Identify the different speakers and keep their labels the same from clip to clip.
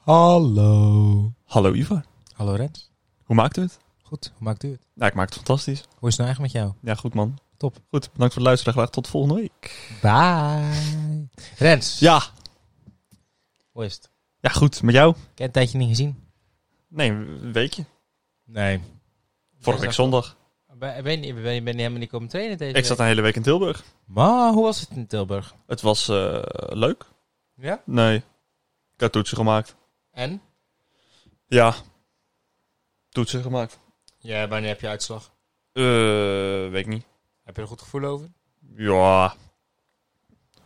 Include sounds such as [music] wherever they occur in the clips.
Speaker 1: Hallo.
Speaker 2: Hallo Ivar,
Speaker 1: Hallo Rens.
Speaker 2: hoe maakt u het?
Speaker 1: Goed, hoe maakt u het?
Speaker 2: Nou, ik maak het fantastisch.
Speaker 1: Hoe is het nou eigenlijk met jou?
Speaker 2: Ja, goed man.
Speaker 1: Top.
Speaker 2: Goed, bedankt voor het luisteren. Graag tot volgende week.
Speaker 1: Bye. Rens.
Speaker 2: Ja,
Speaker 1: Hoe is het? Ik
Speaker 2: ja goed. Met jou?
Speaker 1: heb je een tijdje niet gezien.
Speaker 2: Nee, een weekje.
Speaker 1: Nee.
Speaker 2: Vorige week zondag.
Speaker 3: Ben, ben, ben, ben je helemaal niet komen trainen deze
Speaker 2: Ik zat een hele week in Tilburg.
Speaker 1: Maar hoe was het in Tilburg?
Speaker 2: Het was eh, leuk.
Speaker 3: Ja?
Speaker 2: Nee. Ik had toetsen gemaakt.
Speaker 3: En?
Speaker 2: Ja. Toetsen gemaakt.
Speaker 3: Ja, wanneer heb je uitslag?
Speaker 2: Eh, weet ik niet.
Speaker 3: Heb je er goed gevoel over?
Speaker 2: Ja.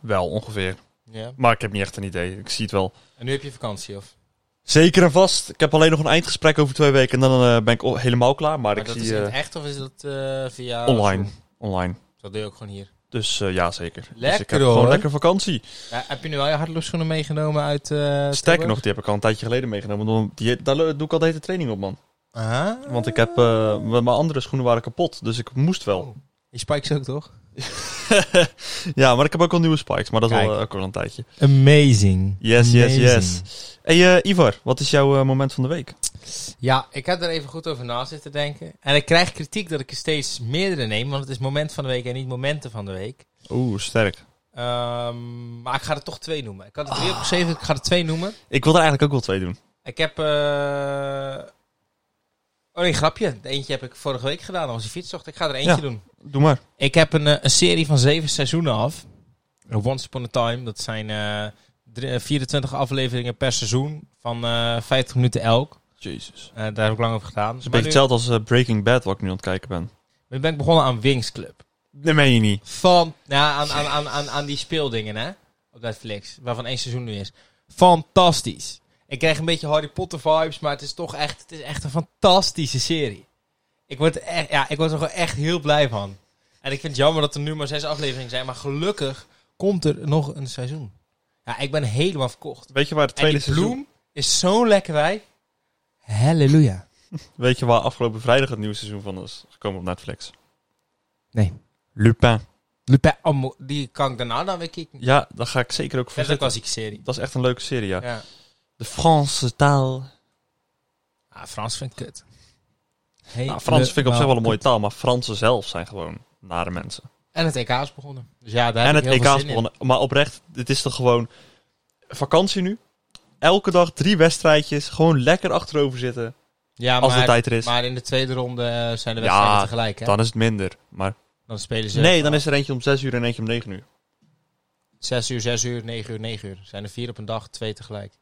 Speaker 2: Wel ongeveer.
Speaker 3: Ja.
Speaker 2: Maar ik heb niet echt een idee. Ik zie het wel.
Speaker 3: En nu heb je vakantie, of?
Speaker 2: Zeker en vast. Ik heb alleen nog een eindgesprek over twee weken. En dan eh, ben ik o- helemaal klaar. Maar,
Speaker 3: maar
Speaker 2: ik
Speaker 3: dat
Speaker 2: zie
Speaker 3: is in het
Speaker 2: eh,
Speaker 3: echt, of is dat eh, via...
Speaker 2: online. Online.
Speaker 3: Dat doe je ook gewoon hier.
Speaker 2: Dus eh, ja, zeker. dus ik
Speaker 3: Lekker,
Speaker 2: heb gewoon
Speaker 3: hoor.
Speaker 2: lekker vakantie.
Speaker 3: Ja, heb je nu al je hardloopschoenen meegenomen uit eh
Speaker 2: Sterker nog,
Speaker 3: Tilburg?
Speaker 2: die heb ik al een tijdje geleden meegenomen. want Die, daar doe ik al de hele training op, man.
Speaker 3: Ah.
Speaker 2: Want ik heb, eh, m- mijn andere schoenen waren kapot, dus ik moest wel.
Speaker 3: Oh. Je spikes ook, toch?
Speaker 2: ja, maar ik heb ook al nieuwe spikes, maar dat is al,
Speaker 3: Kijk.
Speaker 2: eh, ook al een tijdje.
Speaker 1: Amazing.
Speaker 2: Yes, yes, yes. hey, eh, Ivar, wat is jouw eh, moment van de week?
Speaker 3: Ja, ik heb er even goed over na zitten denken. En ik krijg kritiek dat ik er steeds meerdere neem, want het is moment van de week en niet momenten van de week.
Speaker 2: Oeh, sterk.
Speaker 3: Ehm, maar ik ga er toch twee noemen. Ik had er drie opgeschreven, ik ga er twee noemen.
Speaker 2: Ik wil er eigenlijk ook wel twee doen.
Speaker 3: Ik heb. eh Oh, een grapje. De eentje heb ik vorige week gedaan, onze fietstocht. Ik ga er eentje
Speaker 2: Ja.
Speaker 3: doen.
Speaker 2: Doe maar.
Speaker 3: Ik heb een, eh, een serie van zeven seizoenen af. Once Upon a Time. Dat zijn eh, drie- eh, 24 afleveringen per seizoen van eh 50 minuten elk.
Speaker 2: Jezus. Het
Speaker 3: Eh, daar heb ik lang over gedaan.
Speaker 2: is een
Speaker 3: Maar
Speaker 2: beetje hetzelfde als eh, Breaking Bad, wat ik nu aan het kijken ben.
Speaker 3: nu, nu ben ik begonnen aan Wings Club.
Speaker 2: Nee, meen je niet.
Speaker 3: Van, nou, aan, aan, aan, aan, aan die speeldingen, hè? Op Netflix, waarvan één seizoen nu is. Fantastisch. Ik krijg een beetje Harry Potter vibes, maar het is toch echt, het is echt een fantastische serie. Ik word, echt, ja, ik word er gewoon echt heel blij van. En ik vind het jammer dat er nu maar zes afleveringen zijn, maar gelukkig komt er nog een seizoen. Ja, ik ben helemaal verkocht.
Speaker 2: Weet je waar het
Speaker 3: En
Speaker 2: tweede
Speaker 3: die
Speaker 2: seizoen...
Speaker 3: bloem is zo'n lekker wij. Halleluja.
Speaker 2: Weet je waar afgelopen vrijdag het nieuwe seizoen van is gekomen op Netflix?
Speaker 3: Nee.
Speaker 2: Lupin.
Speaker 3: Lupin, oh, mo- die kan ik daarna dan weer kijken.
Speaker 2: Ja, daar ga ik zeker ook voor
Speaker 3: Dat is ook wel
Speaker 2: zitten.
Speaker 3: een zieke serie.
Speaker 2: Dat is echt een leuke serie, ja.
Speaker 3: Ja.
Speaker 2: De Franse taal.
Speaker 3: Ah, Frans vind ik kut.
Speaker 2: Nou, Frans vind ik op zich wel een mooie taal, maar Fransen zelf zijn gewoon nare mensen.
Speaker 3: En het EK is begonnen. Dus ja, daar
Speaker 2: en
Speaker 3: heb
Speaker 2: het
Speaker 3: ik heel
Speaker 2: EK
Speaker 3: veel
Speaker 2: is
Speaker 3: zin in.
Speaker 2: begonnen. Maar oprecht, dit is toch gewoon vakantie nu? Elke dag drie wedstrijdjes, gewoon lekker achterover zitten
Speaker 3: Ja,
Speaker 2: als de
Speaker 3: maar,
Speaker 2: tijd er is.
Speaker 3: maar in de tweede ronde eh, zijn de
Speaker 2: Ja,
Speaker 3: wedstrijden tegelijk, hè? Dan,
Speaker 2: Dan is het minder. Maar
Speaker 3: spelen ze...
Speaker 2: nee, dan is er eentje om zes uur en eentje om negen uur.
Speaker 3: 6 uur, 6 uur, 9 uur, 9 uur. Zijn er vier op een dag, twee tegelijk.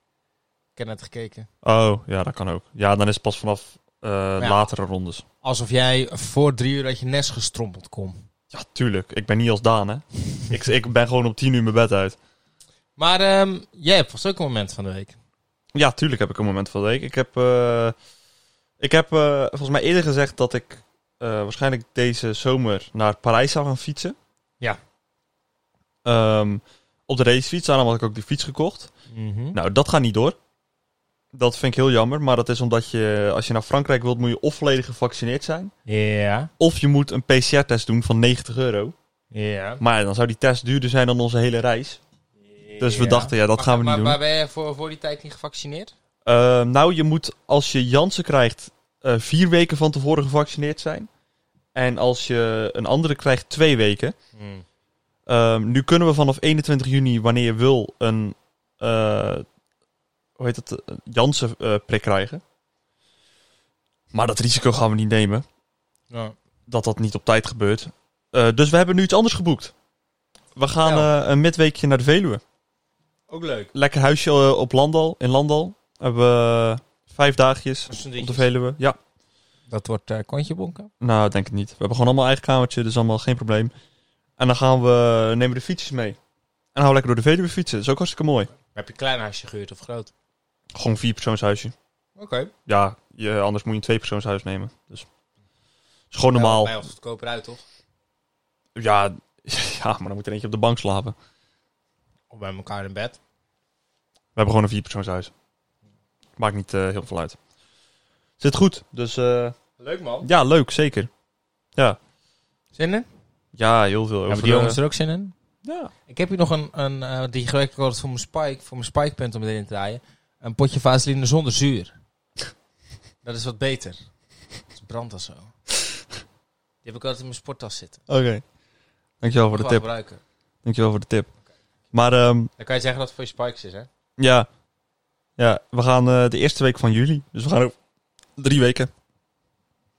Speaker 3: Ik heb net gekeken.
Speaker 2: Oh, ja, dat kan ook. Ja, dan is het pas vanaf eh, latere rondes.
Speaker 3: Alsof jij voor drie uur uit je nest gestrompeld kon.
Speaker 2: Ja, tuurlijk. Ik ben niet als
Speaker 3: [laughs]
Speaker 2: Daan, hè. ik, ik ben gewoon om tien uur mijn bed uit.
Speaker 3: Maar ehm, jij hebt vast ook een moment van de week.
Speaker 2: Ja, tuurlijk heb ik een moment van de week. Ik heb, eh, ik heb eh, volgens mij eerder gezegd dat ik eh, waarschijnlijk deze zomer naar Parijs zou gaan fietsen.
Speaker 3: Ja.
Speaker 2: Ehm, op de racefiets, daarom had ik ook die fiets gekocht.
Speaker 3: Mhm.
Speaker 2: Nou, dat gaat niet door. Dat vind ik heel jammer, maar dat is omdat je, als je naar Frankrijk wilt, moet je of volledig gevaccineerd zijn,
Speaker 3: Ja,
Speaker 2: of je moet een PCR-test doen van 90 euro.
Speaker 3: ja.
Speaker 2: Maar ja, dan zou die test duurder zijn dan onze hele reis. Dus we dachten, ja, dat gaan we niet
Speaker 3: maar,
Speaker 2: doen.
Speaker 3: Maar ben je voor, voor die tijd niet gevaccineerd?
Speaker 2: Eh, nou, je moet als je Janssen krijgt eh, vier weken van tevoren gevaccineerd zijn. En als je een andere krijgt twee weken.
Speaker 3: Mm.
Speaker 2: Ehm, nu kunnen we vanaf 21 juni, wanneer je wil, een eh, hoe heet dat, een Janssen eh, prik krijgen. Maar dat risico gaan we niet nemen.
Speaker 3: Ja.
Speaker 2: Dat dat niet op tijd gebeurt. Eh, dus we hebben nu iets anders geboekt. We gaan eh, een midweekje naar de Veluwe
Speaker 3: Ook leuk.
Speaker 2: lekker huisje eh, op Landal, in Landal. Hebben we vijf dagjes op de Veluwe. Ja,
Speaker 3: Dat wordt eh, kontje bonken.
Speaker 2: nou, denk het niet. We hebben gewoon allemaal eigen kamertje, dus allemaal geen probleem. En dan gaan we, nemen we de fietsjes mee. En dan gaan we lekker door de Veluwe fietsen. Dat is ook hartstikke mooi.
Speaker 3: Heb je een klein huisje gehuurd of groot?
Speaker 2: Gewoon een vierpersoonshuisje.
Speaker 3: Oké.
Speaker 2: Ja, je, anders moet je een tweepersoonshuis nemen. Dus is gewoon normaal.
Speaker 3: Bij ons goedkoper uit, toch?
Speaker 2: Ja, [laughs] ja, maar dan moet er eentje op de bank slapen.
Speaker 3: Of bij elkaar in bed.
Speaker 2: We hebben gewoon een vierpersoonshuis. Maakt niet eh, heel veel uit. Zit goed, dus eh,
Speaker 3: Leuk man.
Speaker 2: ja, leuk, zeker.
Speaker 3: Zin in?
Speaker 2: Ja, heel veel. Over,
Speaker 3: Hebben die
Speaker 2: eh,
Speaker 3: jongens er ook zin in?
Speaker 2: Ja.
Speaker 3: Ik heb hier nog een, een eh, die gebruik ik altijd voor mijn spike, voor mijn spikepunt om erin te draaien. Een potje vaseline zonder
Speaker 2: [laughs]
Speaker 3: zuur. Dat is wat beter. Het brandt al zo. Die heb ik altijd in mijn sporttas zitten.
Speaker 2: Oké. Dankjewel voor de
Speaker 3: Gewoon
Speaker 2: tip.
Speaker 3: gebruiken.
Speaker 2: Dankjewel voor de tip. Maar ehm,
Speaker 3: Dan kan je zeggen dat het voor je spikes is, hè?
Speaker 2: ja. ja, we gaan eh, de eerste week van juli. Dus we gaan over drie weken.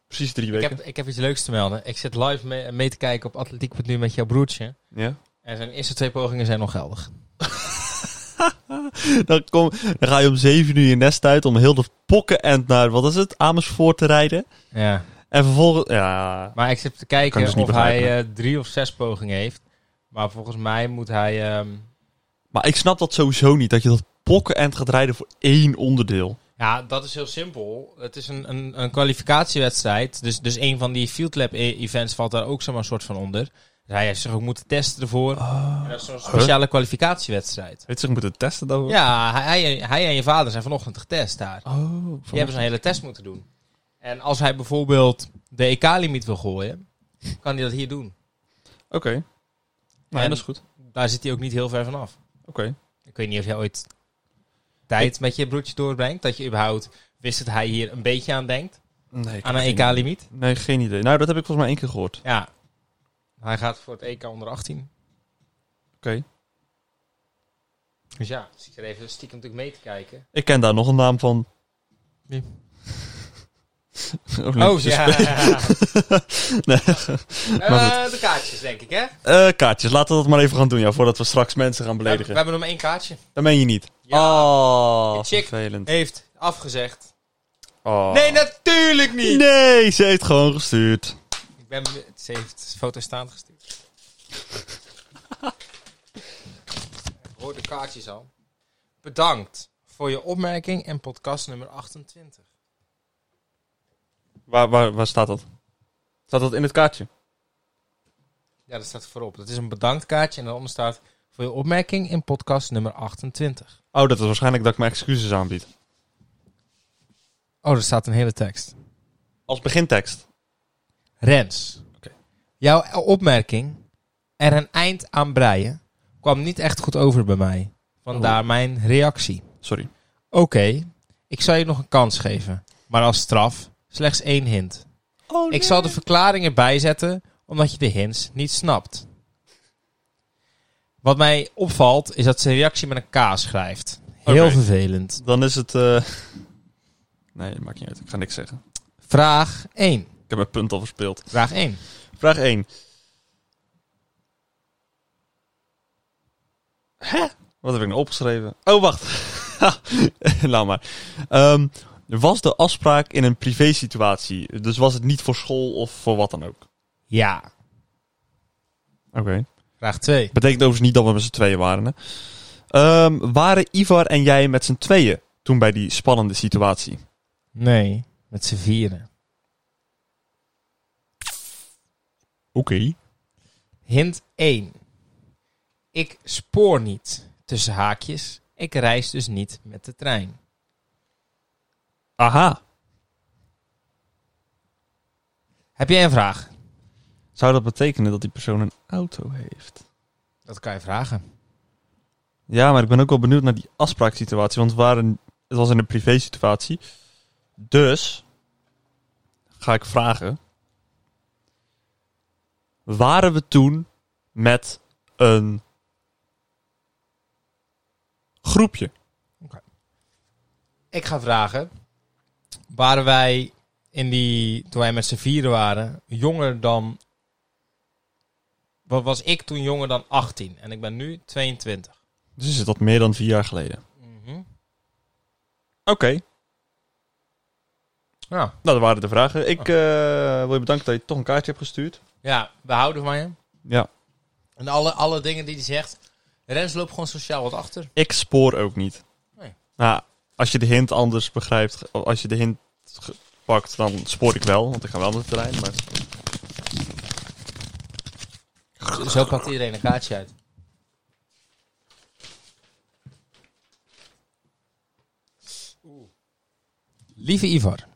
Speaker 2: Precies drie
Speaker 3: Ik
Speaker 2: weken.
Speaker 3: heb, ik heb iets leuks te melden. Ik zit live mee, mee te kijken op atletiek.nu met jouw broertje.
Speaker 2: Ja.
Speaker 3: En zijn eerste twee pogingen zijn nog geldig.
Speaker 2: [laughs] Dan, kom, dan ga je om zeven uur je nest uit om heel de pokkenend naar, wat is het, Amersfoort te rijden.
Speaker 3: Ja.
Speaker 2: En vervolgens, ja,
Speaker 3: Maar ik zit te
Speaker 2: Kan
Speaker 3: kijken
Speaker 2: ik dus
Speaker 3: of
Speaker 2: niet
Speaker 3: hij
Speaker 2: begrijpen.
Speaker 3: eh, drie of zes pogingen heeft. Maar volgens mij moet hij... ehm,
Speaker 2: Maar ik snap dat sowieso niet, dat je dat pokkenend gaat rijden voor één onderdeel.
Speaker 3: Ja, dat is heel simpel. Het is een, een, een kwalificatiewedstrijd. Dus, dus een van die Field Lab e- events valt daar ook zomaar een soort van onder. Dus hij heeft zich ook moeten testen ervoor.
Speaker 2: Ah.
Speaker 3: En dat is zo'n speciale kwalificatiewedstrijd.
Speaker 2: Weet je, ik moet het testen daarvoor.
Speaker 3: Ja, hij, hij- hij en je vader zijn vanochtend getest daar.
Speaker 2: Oh,
Speaker 3: Die hebben zo'n hele test moeten doen. En als hij bijvoorbeeld de EK-limiet wil gooien, kan hij dat hier doen.
Speaker 2: Oké. Nou, ja,
Speaker 3: En-
Speaker 2: dat is goed.
Speaker 3: Daar zit hij ook niet heel ver vanaf.
Speaker 2: Oké.
Speaker 3: Ik weet niet of jij ooit tijd met je broertje doorbrengt. Dat je überhaupt wist dat hij hier een beetje aan denkt.
Speaker 2: Nee,
Speaker 3: Aan een EK-limiet.
Speaker 2: Nee, geen idee. Nou, dat heb ik volgens mij één keer gehoord.
Speaker 3: Ja. Hij gaat voor het EK onder 18.
Speaker 2: Oké.
Speaker 3: Dus ja, zit er even stiekem natuurlijk mee te kijken.
Speaker 2: Ik ken daar nog een naam van. [laughs]
Speaker 3: Wie? Oh,
Speaker 2: Olympische [laughs] spe- Nee. Maar
Speaker 3: Eh, de kaartjes, denk ik, hè?
Speaker 2: Eh, kaartjes, laten we dat maar even gaan doen, ja, voordat we straks mensen gaan
Speaker 3: We hebben, we
Speaker 2: beledigen.
Speaker 3: hebben nog maar één kaartje.
Speaker 2: Dat meen je niet.
Speaker 3: Ja.
Speaker 2: Oh,
Speaker 3: Die chick.
Speaker 2: vervelend.
Speaker 3: Heeft afgezegd.
Speaker 2: Oh.
Speaker 3: Nee, natuurlijk niet!
Speaker 2: Nee, ze heeft gewoon gestuurd.
Speaker 3: Ik ben, be- ze heeft foto's staand gestuurd. [laughs] Ik hoor de kaartjes al. Bedankt voor je opmerking en podcast nummer 28.
Speaker 2: Waar, waar, waar staat dat? Staat dat in het kaartje?
Speaker 3: Ja, dat staat voorop. Dat is een bedankt kaartje en daaronder staat voor je opmerking in podcast nummer 28.
Speaker 2: Oh, dat is waarschijnlijk dat ik mijn excuses aanbied.
Speaker 3: Oh, er staat een hele tekst.
Speaker 2: Als begintekst.
Speaker 3: Rens.
Speaker 2: Oké.
Speaker 3: Jouw opmerking, er een eind aan breien, kwam niet echt goed over bij mij. Vandaar mijn reactie.
Speaker 2: Sorry.
Speaker 3: Oké, ik zal je nog een kans geven. Maar als straf, slechts één hint.
Speaker 2: Oh,
Speaker 3: Ik zal de verklaringen bijzetten, omdat je de hints niet snapt. Wat mij opvalt, is dat zijn reactie met een K schrijft. Heel
Speaker 2: Oké.
Speaker 3: vervelend.
Speaker 2: Dan is het... eh, Nee, dat maakt niet uit. Ik ga niks zeggen.
Speaker 3: Vraag 1.
Speaker 2: Ik heb mijn punt al verspeeld.
Speaker 3: Vraag 1.
Speaker 2: Vraag 1. Hè? Wat heb ik nou opgeschreven? Oh, wacht. [laughs] Laat maar. Ehm, was de afspraak in een privé situatie? Dus was het niet voor school of voor wat dan ook?
Speaker 3: Ja.
Speaker 2: Oké.
Speaker 3: Vraag 2.
Speaker 2: Betekent overigens niet dat we met z'n tweeën waren. Hè? Ehm, waren Ivar en jij met z'n tweeën toen bij die spannende situatie?
Speaker 3: Nee, met z'n vieren.
Speaker 2: Oké.
Speaker 3: Hint 1. Ik spoor niet. Tussen haakjes. Ik reis dus niet met de trein.
Speaker 2: Aha.
Speaker 3: Heb jij een vraag?
Speaker 2: Zou dat betekenen dat die persoon een auto heeft?
Speaker 3: Dat kan je vragen.
Speaker 2: Ja, maar ik ben ook wel benieuwd naar die afspraaksituatie. Want we waren, het was in een privé situatie. Dus ga ik vragen. Waren we toen met een groepje?
Speaker 3: Ik ga vragen. Waren wij in die, toen wij met z'n vieren waren, jonger dan... Wat was ik toen jonger dan 18? En ik ben nu 22.
Speaker 2: Dus is dat meer dan vier jaar geleden?
Speaker 3: Mhm.
Speaker 2: Oké,
Speaker 3: Ja.
Speaker 2: nou dat waren de vragen. Ik eh, wil je bedanken dat je toch een kaartje hebt gestuurd.
Speaker 3: ja, we houden van je.
Speaker 2: Ja.
Speaker 3: En alle, alle dingen die hij zegt. Rens loopt gewoon sociaal wat achter.
Speaker 2: Ik spoor ook niet.
Speaker 3: Nee.
Speaker 2: Nou, als je de hint anders begrijpt, of als je de hint ge- pakt, dan spoor ik wel, want ik ga wel naar het terrein. Maar...
Speaker 3: Zo pakt iedereen een kaartje uit. Lieve Ivar,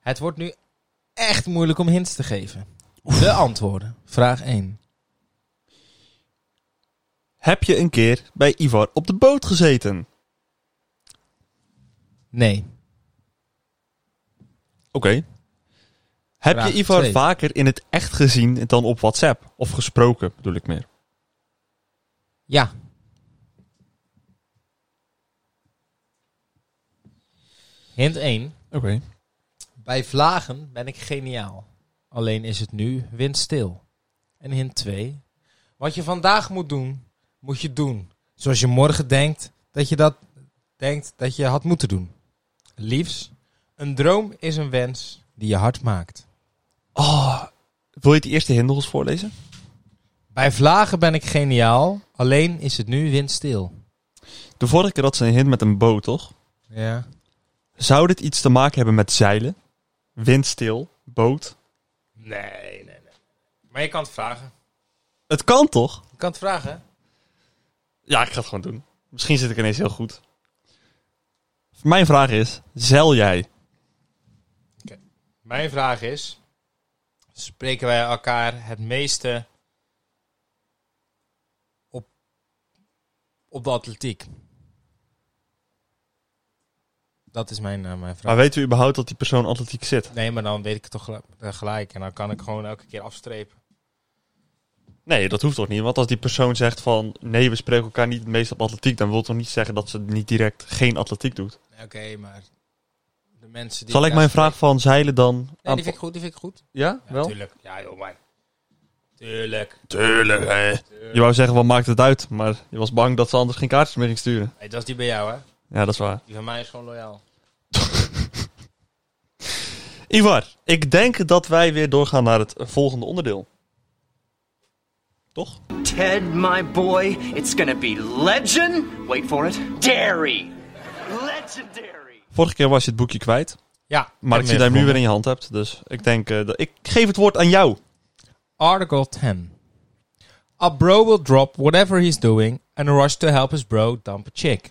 Speaker 3: het wordt nu echt moeilijk om hints te geven. De antwoorden. Vraag 1.
Speaker 2: Heb je een keer bij Ivar op de boot gezeten?
Speaker 3: Nee.
Speaker 2: Oké. Heb
Speaker 3: Vraag
Speaker 2: je Ivar
Speaker 3: twee.
Speaker 2: vaker in het echt gezien dan op WhatsApp? Of gesproken, bedoel ik meer.
Speaker 3: Ja. Hint 1.
Speaker 2: Oké.
Speaker 3: Bij vlagen ben ik geniaal. Alleen is het nu windstil. En hint 2. Wat je vandaag moet doen, moet je doen. Zoals je morgen denkt dat je dat denkt dat je had moeten doen. Liefs, een droom is een wens die je hard maakt.
Speaker 2: Oh, wil je die eerste hindels voorlezen?
Speaker 3: Bij vlagen ben ik geniaal, alleen is het nu windstil.
Speaker 2: De vorige keer had ze een hint met een boot, toch?
Speaker 3: Ja.
Speaker 2: Zou dit iets te maken hebben met zeilen? Windstil, boot?
Speaker 3: Nee, nee, nee. Maar je kan het vragen.
Speaker 2: Het kan toch?
Speaker 3: Je kan het vragen.
Speaker 2: Ja, ik ga het gewoon doen. Misschien zit ik ineens heel goed. Mijn vraag is, zeil jij?
Speaker 3: Mijn vraag is: spreken wij elkaar het meeste op, op de atletiek? Dat is mijn, eh, mijn vraag.
Speaker 2: Maar weet u überhaupt dat die persoon atletiek zit?
Speaker 3: Nee, maar dan weet ik het toch gel- eh, gelijk. En dan kan ik gewoon elke keer afstrepen.
Speaker 2: Nee, dat hoeft toch niet? Want als die persoon zegt van... nee, we spreken elkaar niet het meest op atletiek... dan wil toch niet zeggen dat ze niet direct geen atletiek doet?
Speaker 3: Oké, maar de mensen die.
Speaker 2: Zal ik mijn vraag van zeilen dan...
Speaker 3: Nee, die vind ik goed. Die vind ik goed.
Speaker 2: Ja,
Speaker 3: Ja,
Speaker 2: wel?
Speaker 3: Tuurlijk. Ja, joh, maar. Tuurlijk.
Speaker 2: Tuurlijk, hè. Je wou zeggen, wat maakt het uit? Maar je was bang dat ze anders geen kaartjes meer ging sturen.
Speaker 3: Hey, dat is die bij jou, hè?
Speaker 2: Ja, dat is waar.
Speaker 3: Die van mij is gewoon loyaal.
Speaker 2: Ivar, ik denk dat wij weer doorgaan naar het volgende onderdeel. Toch?
Speaker 4: Ted, my boy, it's gonna be legend. Wait for it. Dairy. Legendary.
Speaker 2: Vorige keer was je het boekje kwijt.
Speaker 3: Ja,
Speaker 2: Maar ik zie dat je hem nu weer in je hand hebt. Dus ik denk eh, dat... Ik geef het woord aan jou.
Speaker 3: Article 10. A bro will drop whatever he's doing and rush to help his bro dump a chick.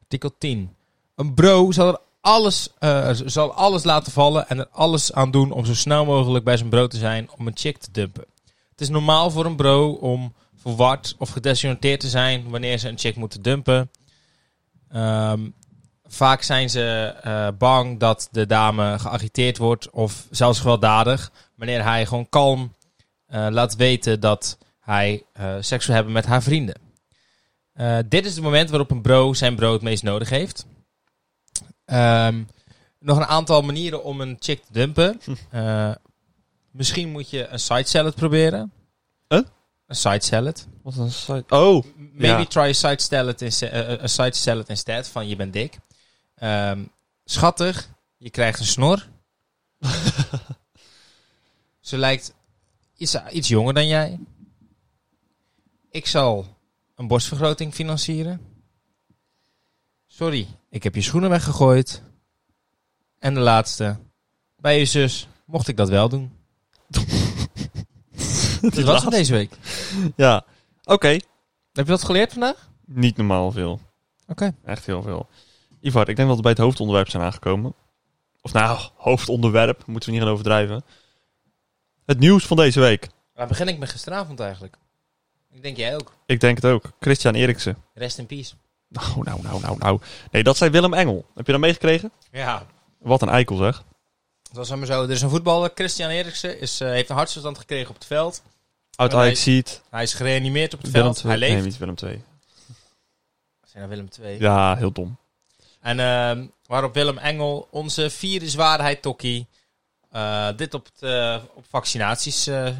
Speaker 3: Artikel 10. Een bro zal, er alles, eh, z- zal alles laten vallen en er alles aan doen om zo snel mogelijk bij zijn bro te zijn om een chick te dumpen. Het is normaal voor een bro om verward of gedesoriënteerd te zijn wanneer ze een chick moeten dumpen. Ehm, vaak zijn ze eh, bang dat de dame geagiteerd wordt of zelfs gewelddadig. Wanneer hij gewoon kalm eh, laat weten dat hij eh, seks wil hebben met haar vrienden. Eh, dit is het moment waarop een bro zijn bro het meest nodig heeft. Ehm, nog een aantal manieren om een chick te dumpen. Eh, misschien moet je een side salad proberen.
Speaker 2: Huh?
Speaker 3: Een side salad.
Speaker 2: Wat een site. Oh,
Speaker 3: Maybe
Speaker 2: Ja.
Speaker 3: try a side salad, inste- eh, eh, een side salad instead van je bent dik. Ehm, schattig, je krijgt een
Speaker 2: [laughs]
Speaker 3: snor. Ze lijkt iets, iets jonger dan jij. Ik zal een borstvergroting financieren. Sorry, ik heb je schoenen weggegooid. En de laatste. Bij je zus mocht ik dat wel
Speaker 2: [laughs]
Speaker 3: doen. dat was
Speaker 2: laatste.
Speaker 3: het deze week.
Speaker 2: ja. Oké.
Speaker 3: Heb je dat geleerd vandaag?
Speaker 2: Niet normaal veel.
Speaker 3: Oké.
Speaker 2: Echt heel veel. Ivar, ik denk dat we bij het hoofdonderwerp zijn aangekomen. Of nou, hoofdonderwerp, moeten we niet gaan overdrijven. Het nieuws van deze week.
Speaker 3: Waar begin ik met gisteravond eigenlijk? Ik denk jij ook.
Speaker 2: Ik denk het ook. Christian Eriksen.
Speaker 3: Rest in peace.
Speaker 2: Nou, nou, nou, nou, nou. Nee, dat zei Willem Engel. Heb je dat meegekregen?
Speaker 3: Ja.
Speaker 2: Wat een eikel zeg.
Speaker 3: Dat was maar zo. Er is een voetballer, Christian Eriksen, is, eh, heeft een hartstilstand gekregen op het veld.
Speaker 2: Oud
Speaker 3: Maar
Speaker 2: Ajax ziet.
Speaker 3: Hij is gereanimeerd op het
Speaker 2: Willem
Speaker 3: veld.
Speaker 2: 2.
Speaker 3: Hij leeft.
Speaker 2: Nee, niet Willem 2.
Speaker 3: Zijn dat Willem 2.
Speaker 2: Ja, heel dom.
Speaker 3: En ehm, waarop Willem Engel, onze vierde zwaarheid tokkie, eh, dit op, het, eh, op vaccinaties eh, eh,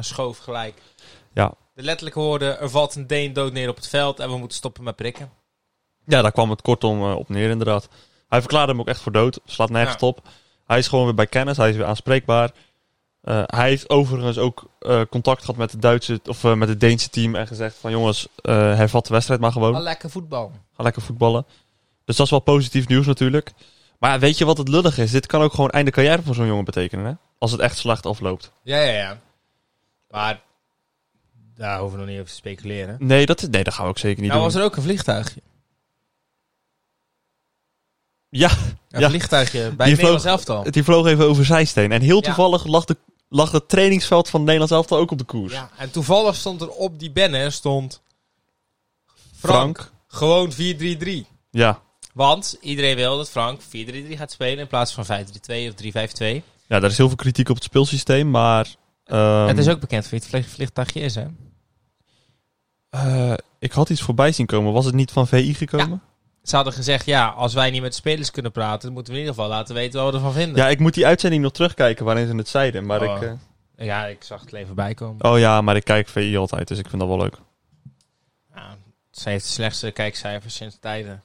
Speaker 3: schoof gelijk.
Speaker 2: Ja.
Speaker 3: De letterlijke woorden, er valt een Deen dood neer op het veld en we moeten stoppen met prikken.
Speaker 2: Ja, daar kwam het kortom eh, op neer inderdaad. Hij verklaarde hem ook echt voor dood. Slaat nergens op. Hij is gewoon weer bij kennis. Hij is weer aanspreekbaar. Eh, hij heeft overigens ook eh, contact gehad met het Duitse of eh, met het Deense team en gezegd van jongens, eh, hervat de wedstrijd maar gewoon.
Speaker 3: Wel lekker voetbal.
Speaker 2: Ga lekker voetballen. Dus dat is wel positief nieuws natuurlijk. Maar ja, weet je wat het lullig is? Dit kan ook gewoon einde carrière voor zo'n jongen betekenen. Hè? Als het echt slecht afloopt.
Speaker 3: Ja, ja, ja. Maar daar hoeven we nog niet over te speculeren.
Speaker 2: Nee, dat, nee, dat gaan we ook zeker niet
Speaker 3: Nou
Speaker 2: doen.
Speaker 3: was er ook een vliegtuigje.
Speaker 2: Ja, [laughs]
Speaker 3: Een
Speaker 2: Ja.
Speaker 3: vliegtuigje bij het Nederlands elftal.
Speaker 2: die vloog even over zijsteen. En heel
Speaker 3: Ja.
Speaker 2: toevallig lag, de, lag het trainingsveld van het Nederlands elftal ook op de koers.
Speaker 3: Ja, en toevallig stond er op die banner stond
Speaker 2: Frank.
Speaker 3: Gewoon 4-3-3.
Speaker 2: Ja.
Speaker 3: Want iedereen wil dat Frank 4-3-3 gaat spelen in plaats van 5-3-2 of 3-5-2.
Speaker 2: ja, daar is heel veel kritiek op het speelsysteem, maar... ehm,
Speaker 3: het is ook bekend voor wie het vlieg- vliegtuigje is, hè?
Speaker 2: eh, ik had iets voorbij zien komen. Was het niet van VI gekomen?
Speaker 3: Ze hadden gezegd, ja, als wij niet met spelers kunnen praten, dan moeten we in ieder geval laten weten wat we ervan vinden.
Speaker 2: Ja, ik moet die uitzending nog terugkijken waarin ze het zeiden. Maar
Speaker 3: Oh.
Speaker 2: ik, eh,
Speaker 3: Ja, ik zag het alleen voorbij komen.
Speaker 2: oh ja, maar ik kijk VI altijd, dus ik vind dat wel leuk.
Speaker 3: Ja, Nou, ze heeft de slechtste kijkcijfers sinds tijden.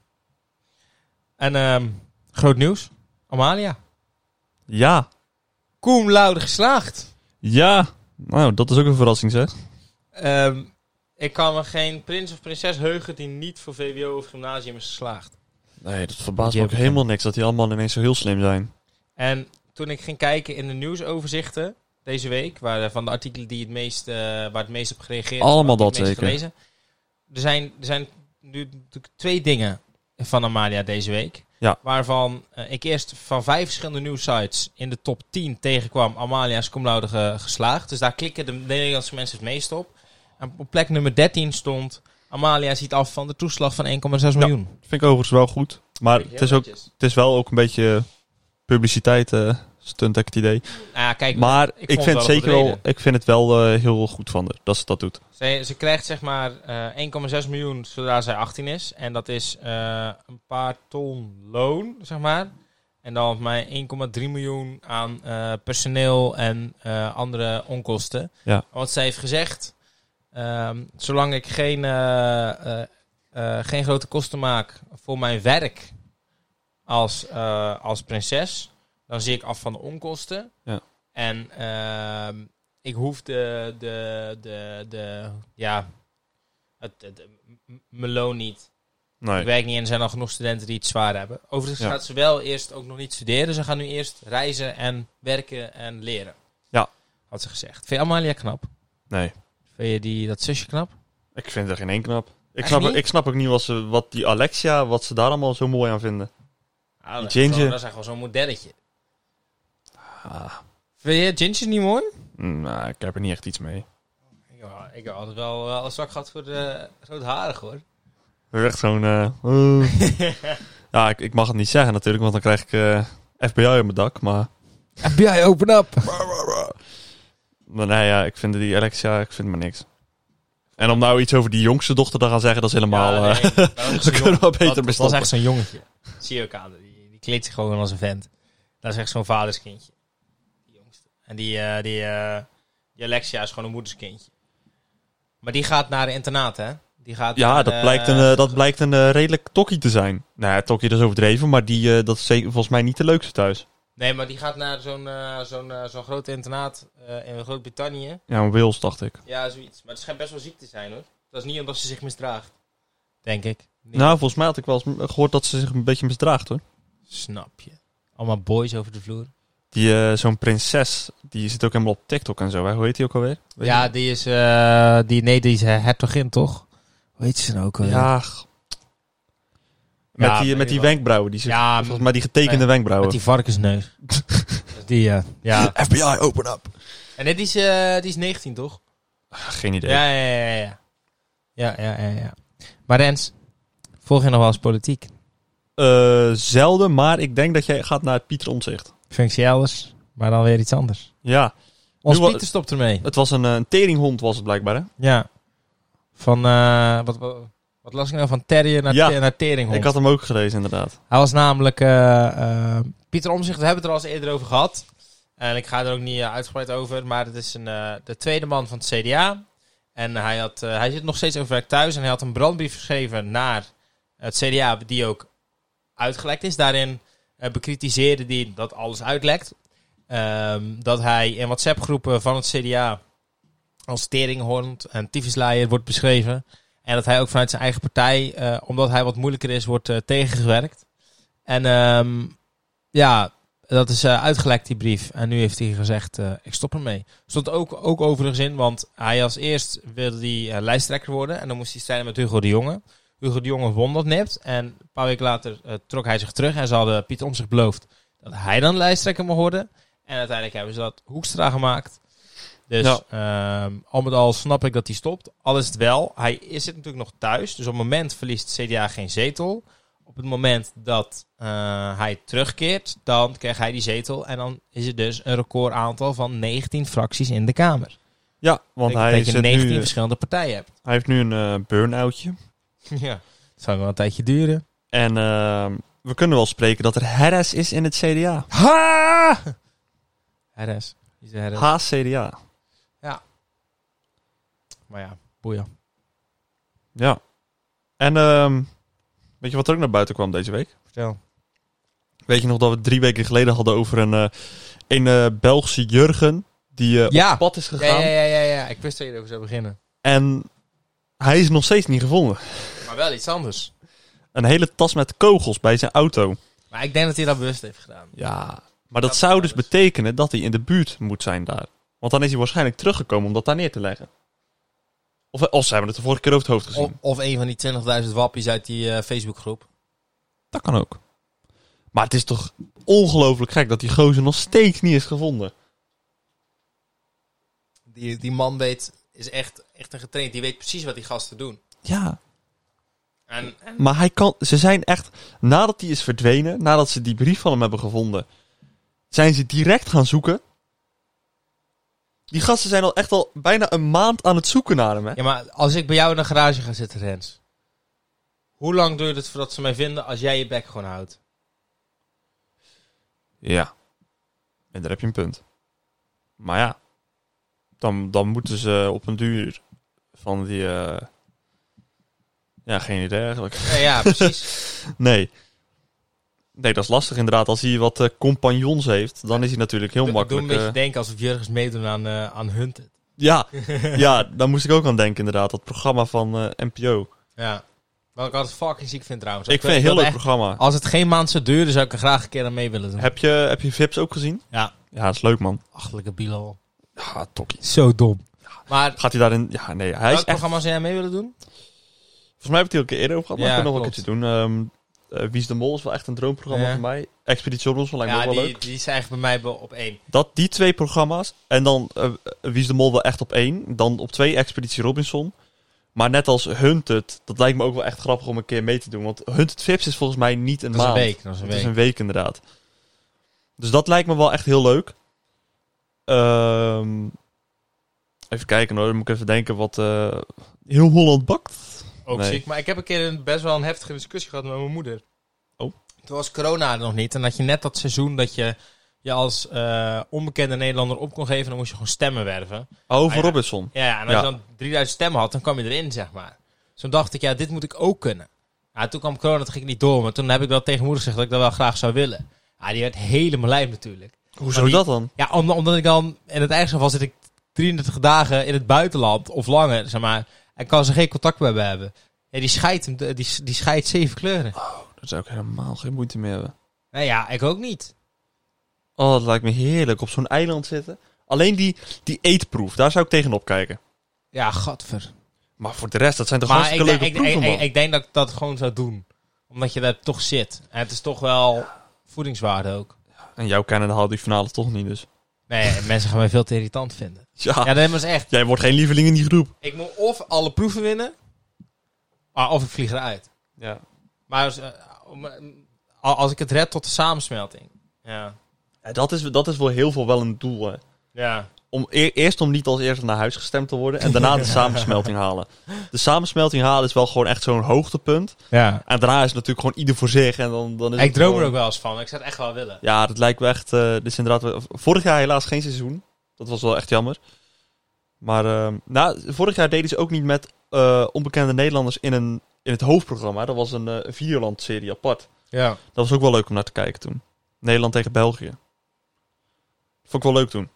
Speaker 3: En ehm, groot nieuws. Amalia.
Speaker 2: Ja.
Speaker 3: Koem Laude geslaagd.
Speaker 2: Ja. Nou, dat is ook een verrassing, zeg.
Speaker 3: Ehm, ik kan me geen prins of prinses heugen die niet voor VWO of gymnasium is geslaagd.
Speaker 2: Nee, dat verbaast
Speaker 3: Die
Speaker 2: me ook
Speaker 3: heb ik
Speaker 2: helemaal niks dat die allemaal ineens zo heel slim zijn.
Speaker 3: En toen ik ging kijken in de nieuwsoverzichten deze week, waar, eh, van de artikelen die het meest, eh, waar het meest op gereageerd is,
Speaker 2: Allemaal
Speaker 3: waar ik het
Speaker 2: dat
Speaker 3: meest heb
Speaker 2: zeker.
Speaker 3: gelezen, Er zijn, er zijn nu natuurlijk twee dingen van Amalia deze week.
Speaker 2: Ja.
Speaker 3: Waarvan eh, ik eerst van vijf verschillende nieuwsites in de top 10 tegenkwam Amalia is cum laude ge- geslaagd. Dus daar klikken de Nederlandse mensen het meest op. En op plek nummer 13 stond Amalia ziet af van de toeslag van 1,6 miljoen.
Speaker 2: Vind ik overigens wel goed. Maar
Speaker 3: Heel
Speaker 2: het is, ook,
Speaker 3: netjes.
Speaker 2: het is wel ook een beetje publiciteit, eh stunt, heb ik het idee.
Speaker 3: Nou ja, kijk,
Speaker 2: Maar ik,
Speaker 3: vond het
Speaker 2: vind,
Speaker 3: wel
Speaker 2: het
Speaker 3: een
Speaker 2: zeker
Speaker 3: goede
Speaker 2: wel, ik vind het wel eh, heel goed van haar dat ze dat doet.
Speaker 3: Ze, ze krijgt zeg maar eh 1,6 miljoen zodra zij 18 is. En dat is eh, een paar ton loon, zeg maar. En dan volgens mij 1,3 miljoen aan eh, personeel en eh, andere onkosten.
Speaker 2: Ja.
Speaker 3: Want zij heeft gezegd, ehm, zolang ik geen, eh, eh, eh, geen grote kosten maak voor mijn werk als, eh, als prinses, dan zie ik af van de onkosten.
Speaker 2: Ja.
Speaker 3: En ehm, ik hoef de, de, de, de ja, het, het, m- m- mijn loon niet. Ik
Speaker 2: Nee.
Speaker 3: werk niet en er zijn al genoeg studenten die het zwaar hebben. Overigens
Speaker 2: Ja.
Speaker 3: gaat ze wel eerst ook nog niet studeren. Ze gaan nu eerst reizen en werken en leren.
Speaker 2: Ja.
Speaker 3: Had ze gezegd. Vind je Amalia knap?
Speaker 2: nee.
Speaker 3: Vind je die, dat zusje knap?
Speaker 2: Ik vind er geen één knap. Ik
Speaker 3: Echt
Speaker 2: snap,
Speaker 3: niet?
Speaker 2: ik snap ook niet wat, ze, wat die Alexia, wat ze daar allemaal zo mooi aan vinden.
Speaker 3: Ah, dat, is
Speaker 2: Ginger.
Speaker 3: gewoon- dat is echt wel zo'n modelletje.
Speaker 2: Ah.
Speaker 3: Vind je Ginger niet mooi?
Speaker 2: Mm, nou, ik heb er niet echt iets mee.
Speaker 3: Ik heb, ik heb altijd wel wel een zwak gehad voor de roodharig hoor.
Speaker 2: Echt zo'n... eh,
Speaker 3: [laughs]
Speaker 2: eh. ja, ik, ik mag het niet zeggen natuurlijk, want dan krijg ik eh, FBI op mijn dak, maar...
Speaker 3: FBI, open up!
Speaker 2: Maar nee, ja, ik vind die Alexia, ik vind maar niks. En om nou iets over die jongste dochter te gaan zeggen, dat is helemaal... eh, Ze kunnen wel beter
Speaker 3: dat, dat is
Speaker 2: bestoppen.
Speaker 3: echt zo'n jongetje. Zie je ook aan. Die, die kleedt zich gewoon als een vent. Dat is echt zo'n vaderskindje. Die jongste. En die, eh, die, eh, die Alexia is gewoon een moederskindje. Maar die gaat naar de internaat, hè? Die gaat
Speaker 2: [laughs] Ja,
Speaker 3: naar,
Speaker 2: dat
Speaker 3: eh,
Speaker 2: blijkt een, eh, dat blijkt een eh, redelijk tokkie te zijn. Nou ja, tokkie dat is overdreven, maar die, eh, dat is zeker, volgens mij niet de leukste thuis.
Speaker 3: Nee, maar die gaat naar zo'n eh, zo'n eh, zo'n groot internaat eh, in Groot-Brittannië.
Speaker 2: Ja, een Wils, dacht ik.
Speaker 3: Ja, zoiets. Maar het schijnt best wel ziek te zijn, hoor. Dat is niet omdat ze zich misdraagt. Denk ik. Nee.
Speaker 2: Nou, volgens mij had ik wel eens m- gehoord dat ze zich een beetje misdraagt, hoor.
Speaker 3: Snap je. Allemaal boys over de vloer.
Speaker 2: Die, eh, zo'n prinses, die zit ook helemaal op TikTok en zo. Hè? Hoe heet die ook alweer? Weet
Speaker 3: ja,
Speaker 2: je?
Speaker 3: die is... eh, die, nee, die is eh, hertogin, toch? Hoe heet ze nou ook? alweer?
Speaker 2: Ja, g- Met
Speaker 3: Ja,
Speaker 2: die,
Speaker 3: weet
Speaker 2: met
Speaker 3: ik
Speaker 2: die
Speaker 3: wel.
Speaker 2: wenkbrauwen. Die zich-
Speaker 3: Ja,
Speaker 2: volgens mij die getekende wenkbrauwen.
Speaker 3: Met die [laughs] varkensneus. die, eh, ja.
Speaker 2: FBI, open up.
Speaker 3: En dit is, eh, die is 19, toch? Ah,
Speaker 2: Geen idee.
Speaker 3: Ja, ja, ja, ja. Ja, ja, ja, ja. Maar Rens, volg je nog wel eens politiek?
Speaker 2: Eh, zelden, maar ik denk dat jij gaat naar het Pieter Omtzigt.
Speaker 3: Functie elders, maar dan weer iets anders.
Speaker 2: Ja,
Speaker 3: Ons
Speaker 2: Nu wa-
Speaker 3: Pieter stopt ermee.
Speaker 2: het was een, eh, een teringhond was het blijkbaar, hè?
Speaker 3: Ja. Van, eh, wat, wat, wat las ik nou? Van terrier naar,
Speaker 2: Ja.
Speaker 3: te- naar teringhond.
Speaker 2: Ik had hem ook gelezen, inderdaad.
Speaker 3: Hij was namelijk... eh, eh, Pieter Omzicht, we hebben het er al eens eerder over gehad. En ik ga er ook niet eh, uitgebreid over. Maar het is een, eh, de tweede man van het CDA. En hij, had, eh, hij zit nog steeds overwerk thuis. En hij had een brandbrief geschreven naar het CDA... die ook uitgelekt is. Daarin eh, bekritiseerde hij dat alles uitlekt. Ehm, dat hij in WhatsApp-groepen van het CDA... als teringhond en tyfusleier wordt beschreven... En dat hij ook vanuit zijn eigen partij, eh, omdat hij wat moeilijker is, wordt eh, tegengewerkt. En ehm, ja, dat is eh, uitgelekt, die brief. En nu heeft hij gezegd, eh, ik stop ermee. Stond ook, ook overigens in, want hij als eerst wilde hij eh, lijsttrekker worden. En dan moest hij strijden met Hugo de Jonge. Hugo de Jonge won dat nipt. En een paar weken later eh, trok hij zich terug. En ze hadden Piet Omtzigt beloofd dat hij dan lijsttrekker mag worden. En uiteindelijk hebben ze dat Hoekstra gemaakt.
Speaker 1: Dus ehm, al met al snap ik dat hij stopt. Al is het wel, hij is het natuurlijk nog thuis. Dus op het moment verliest CDA geen zetel. Op het moment dat eh, hij terugkeert, dan krijgt hij die zetel. En dan is er dus een record aantal van 19 fracties in de Kamer.
Speaker 2: Ja, want
Speaker 1: Dat betekent
Speaker 2: hij, zit
Speaker 1: dat je 19
Speaker 2: nu, eh,
Speaker 1: verschillende partijen hebt.
Speaker 3: [laughs]
Speaker 2: hij heeft nu een eh, burn-outje.
Speaker 1: Ja. Het zou nog wel een tijdje duren.
Speaker 2: En ehm, we kunnen wel spreken dat er herres is in het CDA.
Speaker 1: Ha! RS. Is de RS.
Speaker 2: HCDA.
Speaker 1: Maar ja, boeien.
Speaker 2: Ja. En ehm, weet je wat er ook naar buiten kwam deze week?
Speaker 1: Vertel.
Speaker 2: Weet je nog dat we het drie weken geleden hadden over een, eh, een eh, Belgische Jurgen die eh,
Speaker 1: Ja.
Speaker 2: op pad is
Speaker 3: Ja,
Speaker 2: gegaan.
Speaker 3: ja, ja, ja, ja. Ik wist dat je erover zou beginnen.
Speaker 2: En hij is nog steeds niet gevonden.
Speaker 3: Maar wel iets anders.
Speaker 2: Een hele tas met kogels bij zijn auto.
Speaker 3: Maar ik denk dat hij dat bewust heeft gedaan.
Speaker 2: Ja. Maar dat zou dus betekenen dat hij in de buurt moet zijn daar. Want dan is hij waarschijnlijk teruggekomen om dat daar neer te leggen. Of, eh, of ze hebben het de vorige keer over het hoofd
Speaker 3: Of,
Speaker 2: gezien.
Speaker 3: of een van die 20.000 wappies uit die eh, Facebookgroep.
Speaker 2: Dat kan ook. Maar het is toch ongelooflijk gek dat die gozer nog steeds niet is gevonden.
Speaker 3: Die, die man weet, is echt, echt een getraind. Die weet precies wat die gasten doen.
Speaker 2: Ja.
Speaker 3: En, en
Speaker 2: Maar hij kan, ze zijn echt, nadat hij is verdwenen, nadat ze die brief van hem hebben gevonden, zijn ze direct gaan zoeken. Die gasten zijn al echt al bijna een maand aan het zoeken naar hem, hè?
Speaker 3: Ja, maar als ik bij jou in de garage ga zitten, Rens. Hoe lang duurt het voordat ze mij vinden als jij je bek gewoon houdt?
Speaker 2: Ja. En daar heb je een punt. Maar ja, dan, dan moeten ze op een duur van die... eh, Ja, geen idee eigenlijk.
Speaker 3: Ja, ja [laughs] precies.
Speaker 2: Nee. Nee, dat is lastig inderdaad. Als hij wat eh, compagnons heeft, dan is hij natuurlijk heel
Speaker 3: Doe- Doe
Speaker 2: makkelijk...
Speaker 3: een beetje
Speaker 2: eh,
Speaker 3: denken alsof Jurgens meedoen aan, eh aan Hunted. [laughs]
Speaker 2: Ja, ja, daar moest ik ook aan denken inderdaad. Dat programma van eh, NPO.
Speaker 3: Ja. Wat ik altijd fucking ziek vind trouwens.
Speaker 2: ik vind het een heel
Speaker 3: wil
Speaker 2: leuk
Speaker 3: echt-
Speaker 2: programma.
Speaker 3: Als het geen maand zou duren, zou ik er graag een keer aan mee willen doen.
Speaker 2: Heb je, heb je Vips ook gezien?
Speaker 3: Ja.
Speaker 2: Ja, dat is leuk man.
Speaker 3: Achterlijke bilo.
Speaker 2: Ja, tokkie.
Speaker 1: Zo dom.
Speaker 3: Maar
Speaker 2: Gaat hij daarin... Ja, nee, hij is
Speaker 3: welk
Speaker 2: echt...
Speaker 3: programma zou jij mee willen doen?
Speaker 2: Volgens mij heb ik het hier ook een keer eerder over gehad, maar
Speaker 3: Ja,
Speaker 2: ik kan nog een
Speaker 3: klopt.
Speaker 2: keertje doen. Ehm eh, Wie is de Mol is wel echt een droomprogramma
Speaker 3: Ja.
Speaker 2: voor mij. Expeditie Robinson lijkt me
Speaker 3: ja,
Speaker 2: ook wel
Speaker 3: die,
Speaker 2: leuk.
Speaker 3: die zijn eigenlijk bij mij wel op één.
Speaker 2: Dat, die twee programma's. En dan eh, Wie is de Mol wel echt op één. Dan op twee Expeditie Robinson. Maar net als Hunted, dat lijkt me ook wel echt grappig om een keer mee te doen. Want Hunted Vips is volgens mij niet een
Speaker 3: Dat is een
Speaker 2: maand.
Speaker 3: week. Dat is een
Speaker 2: Het is
Speaker 3: week.
Speaker 2: een week inderdaad. Dus dat lijkt me wel echt heel leuk. Ehm, even kijken hoor, dan moet ik even denken wat eh, heel Holland bakt.
Speaker 3: Ook
Speaker 2: Nee.
Speaker 3: ziek. Maar ik heb een keer een, best wel een heftige discussie gehad met mijn moeder.
Speaker 2: Oh.
Speaker 3: Toen was corona er nog niet. En had je net dat seizoen dat je je als eh, onbekende Nederlander op kon geven. Dan moest je gewoon stemmen werven.
Speaker 2: Oh,
Speaker 3: Ah,
Speaker 2: voor
Speaker 3: ja.
Speaker 2: Robinson.
Speaker 3: Ja, ja, en als
Speaker 2: Ja.
Speaker 3: je dan 3000 stemmen had, dan kwam je erin, zeg maar. Dus toen dacht ik, ja, dit moet ik ook kunnen. Ja, toen kwam corona, toen ging ik niet door. Maar toen heb ik wel tegen moeder gezegd dat ik dat wel graag zou willen. Ja, die werd helemaal lijp natuurlijk.
Speaker 2: Hoezo
Speaker 3: die-
Speaker 2: dat dan?
Speaker 3: Ja, om- omdat ik dan in het eigen geval zit ik 33 dagen in het buitenland of langer, zeg maar. En kan ze geen contact meer hebben. Ja, die scheidt hem- die, die scheidt zeven kleuren.
Speaker 2: Daar zou ik helemaal geen moeite mee hebben.
Speaker 3: Nou ja, ik ook niet.
Speaker 2: Oh, dat lijkt me heerlijk. Op zo'n eiland zitten. Alleen die, die eetproef, daar zou ik tegenop kijken.
Speaker 3: Ja, gadver.
Speaker 2: Maar voor de rest, dat zijn toch
Speaker 3: Maar ik,
Speaker 2: hartstikke
Speaker 3: denk-
Speaker 2: leuke
Speaker 3: ik, ik,
Speaker 2: proeven, man.
Speaker 3: ik- ik denk dat ik dat gewoon zou doen. Omdat je daar toch zit. En het is toch wel voedingswaarde ook.
Speaker 2: En jouw kennen haalt die finale toch niet, dus. [laughs]
Speaker 3: Nee, [laughs] mensen gaan mij veel te irritant vinden.
Speaker 2: Ja,
Speaker 3: Ja, dat is echt.
Speaker 2: jij wordt geen lieveling in die groep.
Speaker 3: Ik moet of alle proeven winnen, ah, of ik vlieg eruit.
Speaker 2: Ja.
Speaker 3: Maar als, eh, om, eh, al- als ik het red tot de samensmelting. Ja.
Speaker 2: Dat, is, dat is wel heel veel wel een doel, hè.
Speaker 3: Ja.
Speaker 2: om e- eerst om niet als eerste naar huis gestemd te worden
Speaker 3: [laughs]
Speaker 2: en daarna de samensmelting halen. De samensmelting halen is wel gewoon echt zo'n hoogtepunt.
Speaker 3: ja.
Speaker 2: En daarna is het natuurlijk gewoon ieder voor zich en dan, dan is
Speaker 3: Ik
Speaker 2: het
Speaker 3: droom
Speaker 2: gewoon-
Speaker 3: er ook wel eens van. Ik zou het echt wel willen.
Speaker 2: Ja, dat lijkt me echt. eh, dit is inderdaad. wel- Vorig jaar helaas geen seizoen. Dat was wel echt jammer. Maar ehm, nou, vorig jaar deden ze ook niet met eh, onbekende Nederlanders in, een, in het hoofdprogramma. Dat was een eh Vierland-serie apart.
Speaker 3: Ja.
Speaker 2: Dat was ook wel leuk om naar te kijken toen. Nederland tegen België. Vond ik wel leuk toen.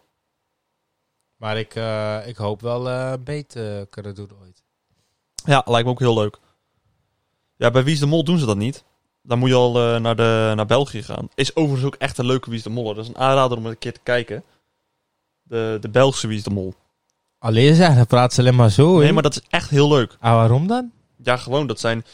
Speaker 3: Maar ik, eh, ik hoop wel eh, beter kunnen doen ooit.
Speaker 2: Ja, lijkt me ook heel leuk. Ja, bij Wie is de Mol doen ze dat niet. Dan moet je al eh, naar, de, naar België gaan. Is overigens ook echt een leuke Wie is de Mol. hoor. Dat is een aanrader om een keer te kijken. De, de Belgische Wie is de Mol.
Speaker 3: Alleen zeg, dan praat ze alleen maar zo.
Speaker 2: Nee, maar dat is echt heel leuk.
Speaker 3: Ah, waarom dan?
Speaker 2: Ja, gewoon, dat zijn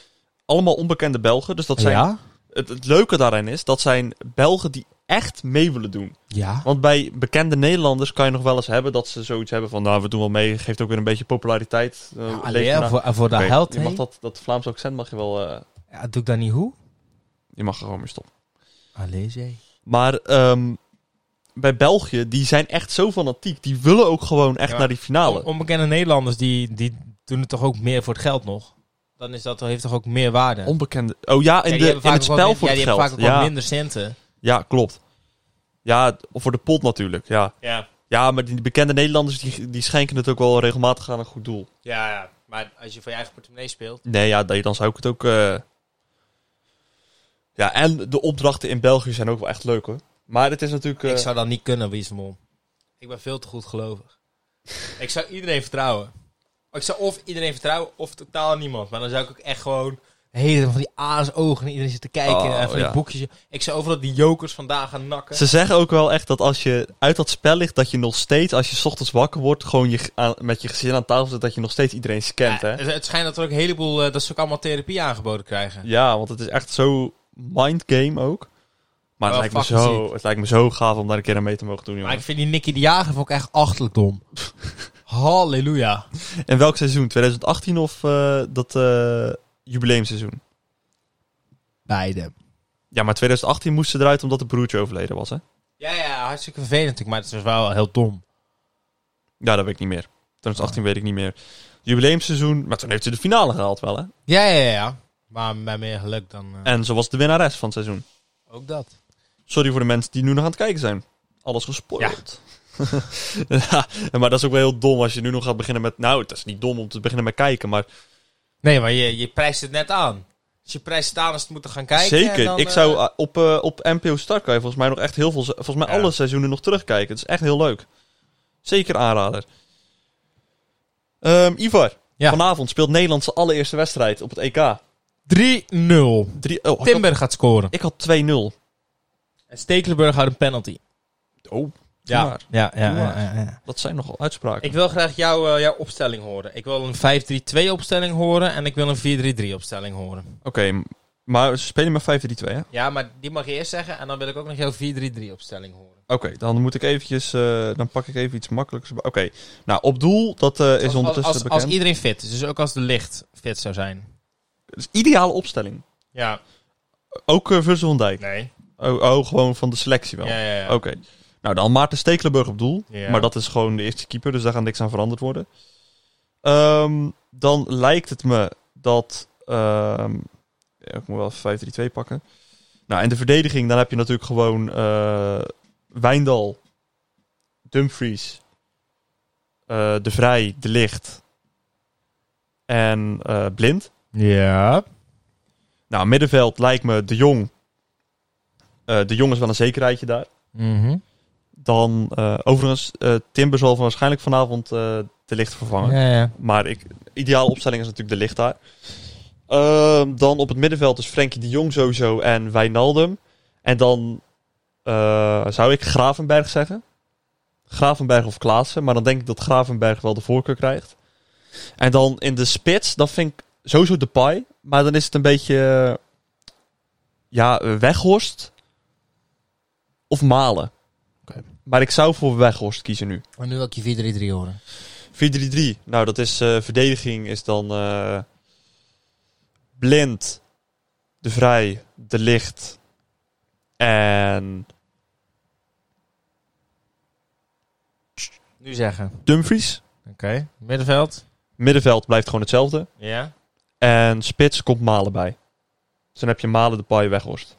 Speaker 2: allemaal onbekende Belgen. Dus dat zijn...
Speaker 3: Ja.
Speaker 2: Het, het leuke daarin is, dat zijn Belgen die echt mee willen doen.
Speaker 5: Ja.
Speaker 2: Want bij bekende Nederlanders kan je nog wel eens hebben dat ze zoiets hebben van, nou, we doen wel mee, geeft ook weer een beetje populariteit.
Speaker 5: Ja,
Speaker 2: eh, leeft erna.
Speaker 5: alleen voor, voor de
Speaker 2: Oké,
Speaker 5: held.
Speaker 2: Je mag
Speaker 5: heen.
Speaker 2: dat, dat Vlaams accent mag je wel, eh,
Speaker 5: Ja, doe ik dat niet hoe?
Speaker 2: je mag er gewoon mee stoppen.
Speaker 5: Allee, zee.
Speaker 2: Maar ehm, bij België, die zijn echt zo fanatiek. Die willen ook gewoon echt
Speaker 3: Ja,
Speaker 2: naar die finale.
Speaker 3: Onbekende Nederlanders die, die doen het toch ook meer voor het geld nog? Dan is dat, toch- heeft toch ook meer waarde?
Speaker 2: Onbekende. Oh ja, in,
Speaker 3: Ja, die
Speaker 2: de,
Speaker 3: hebben
Speaker 2: in
Speaker 3: vaak
Speaker 2: het
Speaker 3: ook wat
Speaker 2: spel
Speaker 3: min-
Speaker 2: voor
Speaker 3: ja,
Speaker 2: het
Speaker 3: die
Speaker 2: geld.
Speaker 3: hebben vaak ook
Speaker 2: ja,
Speaker 3: wat minder centen.
Speaker 2: ja, klopt. Ja, voor de pot natuurlijk. Ja,
Speaker 3: Ja.
Speaker 2: ja maar die bekende Nederlanders die, die schenken het ook wel regelmatig aan een goed doel.
Speaker 3: Ja, ja, maar als je voor je eigen portemonnee speelt.
Speaker 2: Nee, ja, nee, dan zou ik het ook. eh, Ja, en de opdrachten in België zijn ook wel echt leuk hoor. Maar het is natuurlijk. eh,
Speaker 3: Ik zou dat niet kunnen, Wiesmol. Ik ben veel te goed gelovig. [laughs] ik zou iedereen vertrouwen. Ik zou of iedereen vertrouwen of totaal niemand. Maar dan zou ik ook echt gewoon de hele tijd van die aasogen en iedereen zit te kijken
Speaker 2: Oh,
Speaker 3: en van
Speaker 2: ja.
Speaker 3: die boekjes. Ik zou overal die jokers vandaag gaan nakken.
Speaker 2: Ze zeggen ook wel echt dat als je uit dat spel ligt, dat je nog steeds, als je 's ochtends wakker wordt, gewoon je, ge- aan- met je gezin aan tafel zit, dat je nog steeds iedereen scant.
Speaker 3: Ja,
Speaker 2: hè?
Speaker 3: Eh, het, het schijnt dat er ook een heleboel eh, dat ze ook allemaal therapie aangeboden krijgen.
Speaker 2: Ja, want het is echt zo mindgame ook. Maar het
Speaker 3: Wel
Speaker 2: lijkt, me
Speaker 3: fucking
Speaker 2: zo,
Speaker 3: ziek.
Speaker 2: het lijkt me zo gaaf om daar een keer aan mee te mogen doen.
Speaker 3: Maar ik
Speaker 2: Jongen.
Speaker 3: vind die Nicky de Jager vond ik echt achterlijk [laughs] dom. Halleluja.
Speaker 2: En welk seizoen? 2018 of eh, dat eh, jubileumseizoen?
Speaker 5: Beide.
Speaker 2: Ja, maar 2018 moest ze eruit omdat de broertje overleden was, hè?
Speaker 3: Ja, ja, hartstikke vervelend natuurlijk, maar het is wel heel dom.
Speaker 2: Ja, dat weet ik niet meer. 2018 weet ik niet meer. Jubileumseizoen, maar toen heeft ze de finale gehaald wel, hè?
Speaker 3: Ja, ja, ja, ja. Maar met meer geluk dan eh,
Speaker 2: En ze was de winnares van het seizoen.
Speaker 3: ook dat.
Speaker 2: Sorry voor de mensen die nu nog aan het kijken zijn. Alles gespoild. [laughs] Ja. maar dat is ook wel heel dom als je nu nog gaat beginnen met... Nou, het is niet dom om te beginnen met kijken, maar
Speaker 3: Nee, maar je, je prijst het net aan. Als je prijst het aan als het moeten gaan kijken.
Speaker 2: zeker.
Speaker 3: en dan,
Speaker 2: ik
Speaker 3: eh,
Speaker 2: zou eh, op, eh, op NPO Start kan je volgens mij nog echt heel veel... se- Volgens mij
Speaker 3: Ja.
Speaker 2: alle seizoenen nog terugkijken. Het is echt heel leuk. Zeker aanrader. Ehm, Ivar,
Speaker 3: Ja.
Speaker 2: vanavond speelt Nederland zijn allereerste wedstrijd op het EK.
Speaker 3: 3-0.
Speaker 2: Drie, oh, ik had-
Speaker 3: Timber gaat scoren.
Speaker 2: ik had 2-0.
Speaker 3: En Stekelenburg houdt een penalty.
Speaker 2: Oh,
Speaker 3: Ja.
Speaker 2: maar.
Speaker 5: Ja, ja,
Speaker 2: Doe
Speaker 5: ja,
Speaker 2: maar.
Speaker 5: ja, ja.
Speaker 2: Dat zijn nogal uitspraken.
Speaker 3: Ik wil graag jouw, eh, jouw opstelling horen. Ik wil een 5-3-2 opstelling horen en ik wil een 4-3-3 opstelling horen.
Speaker 2: Oké, m- maar ze spelen met 5-3-2, hè? Oké,
Speaker 3: Ja, maar die mag je eerst zeggen en dan wil ik ook nog jouw 4-3-3 opstelling horen.
Speaker 2: dan moet ik eventjes... eh, dan pak ik even iets makkelijks. Oké, nou, op doel, dat eh, is
Speaker 3: Als- als,
Speaker 2: ondertussen
Speaker 3: als, als
Speaker 2: bekend.
Speaker 3: iedereen fit is, dus ook als de licht fit zou zijn.
Speaker 2: Dat is ideale opstelling.
Speaker 3: Ja,
Speaker 2: Ook eh Virgil van Dijk.
Speaker 3: nee.
Speaker 2: Oh, oh, gewoon van de selectie wel.
Speaker 3: Ja, ja, ja.
Speaker 2: Oké. Nou, dan Maarten Stekelenburg op doel.
Speaker 3: Ja.
Speaker 2: Maar dat is gewoon de eerste keeper, dus daar gaat niks aan veranderd worden. Ehm, dan lijkt het me dat... ehm, ja, ik moet wel 5-3-2 pakken. Nou, en de verdediging, dan heb je natuurlijk gewoon eh, Wijndal, Dumfries, eh, De Vrij, De Licht en eh, Blind.
Speaker 3: Ja.
Speaker 2: Nou, middenveld lijkt me De Jong. Eh, de Jong is wel een zekerheidje daar.
Speaker 3: Mhm.
Speaker 2: Dan, eh, overigens, eh, Timber zal van waarschijnlijk vanavond eh, De Licht vervangen.
Speaker 3: ja, ja.
Speaker 2: Maar ik, ideale opstelling is natuurlijk De Licht daar. Ehm, dan op het middenveld is Frenkie De Jong sowieso en Wijnaldum. En dan eh, zou ik Gravenberg zeggen. Gravenberg of Klaassen. Maar dan denk ik dat Gravenberg wel de voorkeur krijgt. En dan in de spits, dan vind ik sowieso Depay. Maar dan is het een beetje... eh, ja, eh, Weghorst. Of Malen.
Speaker 5: Oké.
Speaker 2: Maar ik zou voor Weghorst kiezen nu.
Speaker 5: Maar nu wil ik je 4-3-3 horen.
Speaker 2: 4-3-3. Nou, dat is eh, verdediging is dan eh, Blind, De Vrij, De Licht en
Speaker 3: Nu zeggen.
Speaker 2: Dumfries.
Speaker 3: Oké. Middenveld.
Speaker 2: Middenveld blijft gewoon hetzelfde.
Speaker 3: Ja.
Speaker 2: En spits komt Malen bij. Dus dan heb je Malen, De Paai, Weghorst.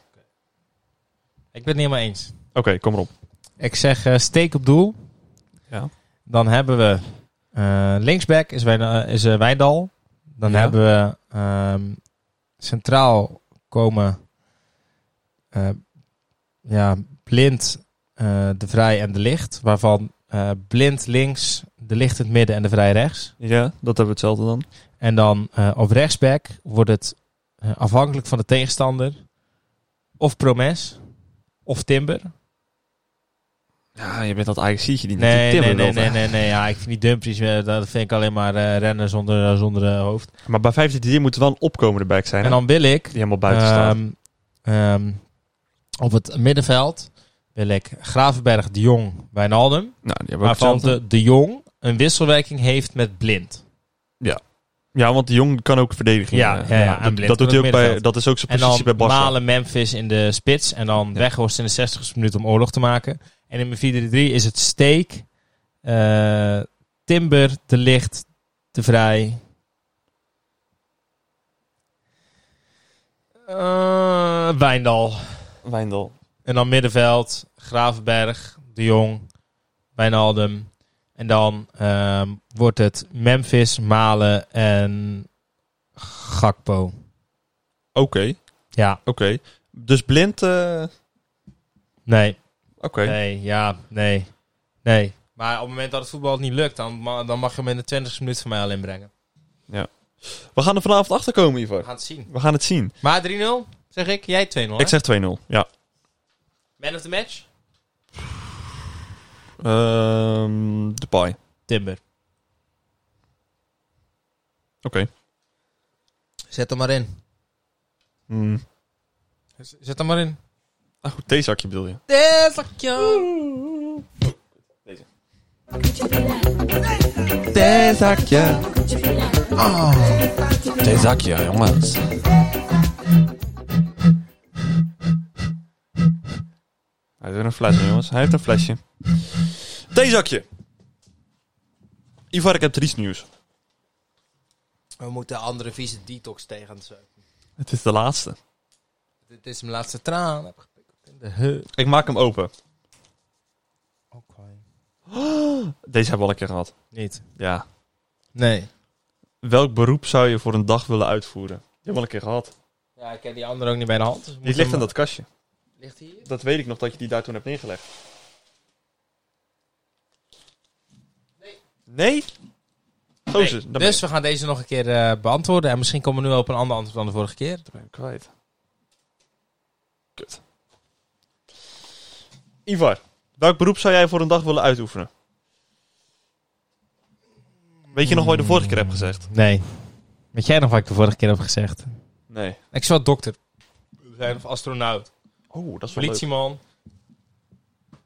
Speaker 3: Ik ben het niet helemaal eens.
Speaker 2: Oké, kom erop.
Speaker 3: Ik zeg eh, steek op doel.
Speaker 2: Ja.
Speaker 3: Dan hebben we eh, linksback is, Wijn- eh, is eh, Wijndal. Dan
Speaker 2: Ja.
Speaker 3: hebben we ehm, centraal komen eh, ja, Blind, eh, De Vrij en De Licht. Waarvan eh, Blind links, De Licht in het midden en De Vrij rechts.
Speaker 2: Ja, dat hebben we hetzelfde dan.
Speaker 3: En dan eh, op rechtsback wordt het eh, afhankelijk van de tegenstander of Promes of Timber.
Speaker 2: Ja, je bent dat AXC'tje die
Speaker 3: Nee, nee, nee, nee, nee, nee. Ja, ik vind die dumpies, eh, dat vind ik alleen maar eh, rennen zonder, zonder eh, hoofd.
Speaker 2: Maar bij 5-3-3 moet er wel een opkomende back zijn.
Speaker 3: En Ehm,
Speaker 2: hè?
Speaker 3: dan wil ik
Speaker 2: die helemaal buiten staat.
Speaker 3: ehm, ehm, op het middenveld wil ik Gravenberg, De Jong, Wijnaldum.
Speaker 2: Nou, die hebben we ook
Speaker 3: Waarvan
Speaker 2: hetzelfde.
Speaker 3: de, de Jong een wisselwerking heeft met Blind.
Speaker 2: Ja, want de jong kan ook verdedigen.
Speaker 3: Ja,
Speaker 2: eh,
Speaker 3: ja, ja, en
Speaker 2: dat,
Speaker 3: blind
Speaker 2: dat
Speaker 3: kan
Speaker 2: doet hij
Speaker 3: ook
Speaker 2: ook bij,
Speaker 3: middenveld.
Speaker 2: dat is ook zijn
Speaker 3: En
Speaker 2: positie bij
Speaker 3: dan
Speaker 2: Barca.
Speaker 3: malen Memphis in de spits. En dan Weghorst in de 60ste minuut om oorlog te maken. En in mijn 4-3 is het Steek, eh, Timber, De Licht, De Vrij. Eh, Wijndal.
Speaker 2: Wijndal.
Speaker 3: En dan middenveld, Gravenberg, De Jong, Wijnaldum. En dan ehm, wordt het Memphis, Malen en Gakpo.
Speaker 2: Oké,
Speaker 3: Ja,
Speaker 2: oké. Dus blind... eh,
Speaker 3: nee,
Speaker 2: Oké.
Speaker 3: nee, ja, nee, nee. Maar op het moment dat het voetbal niet lukt, dan, ma- dan mag je hem in de 20 minuut van mij alleen brengen.
Speaker 2: We gaan er vanavond achter komen,
Speaker 3: We
Speaker 2: Ivar.
Speaker 3: gaan het zien.
Speaker 2: We gaan het zien.
Speaker 3: Maar 3-0, zeg ik. Jij 2-0, hè?
Speaker 2: Ik zeg 2-0. Ja.
Speaker 3: Man of the match?
Speaker 2: Ehm Depay. Oké.
Speaker 3: Timber. Zet hem maar in.
Speaker 2: Hmm.
Speaker 3: Z- Zet hem maar in.
Speaker 2: Ah, goed, theezakje bedoel je.
Speaker 6: Theezakje. Oh. Theezakje, jongens.
Speaker 2: Hij heeft weer een flesje, jongens. Hij heeft een flesje. Theezakje. Ivar, ik heb triest nieuws.
Speaker 7: We moeten andere vieze detox tegen. Zo.
Speaker 2: Het is de laatste.
Speaker 7: Dit is mijn laatste traan. Heb gepikt in de hut.
Speaker 2: Ik maak hem open.
Speaker 7: Oké.
Speaker 2: Deze hebben we al een keer gehad.
Speaker 3: Niet.
Speaker 2: Ja.
Speaker 7: Nee.
Speaker 2: Welk beroep zou je voor een dag willen uitvoeren? Die hebben we al een keer gehad.
Speaker 7: Ja, ik heb die andere ook niet bij de hand. dus
Speaker 2: Die
Speaker 7: moet
Speaker 2: ligt
Speaker 7: hem-
Speaker 2: in dat kastje.
Speaker 7: Ligt hier?
Speaker 2: Dat weet ik nog dat je die daar toen hebt neergelegd. Nee. Nee? Gozer,
Speaker 3: Nee,
Speaker 2: Oh, dan ben
Speaker 3: dus we gaan deze nog een keer eh, beantwoorden. En misschien komen we nu op een ander antwoord dan de vorige keer.
Speaker 2: ben ik kwijt. Kut. Ivar, welk beroep zou jij voor een dag willen uitoefenen? Weet je nog wat je de vorige keer hebt gezegd?
Speaker 3: Nee. Weet jij nog wat ik de vorige keer heb gezegd?
Speaker 2: Nee.
Speaker 3: Ik zou dokter zijn of astronaut.
Speaker 2: Oh, dat is wel
Speaker 3: Politieman.
Speaker 2: leuk.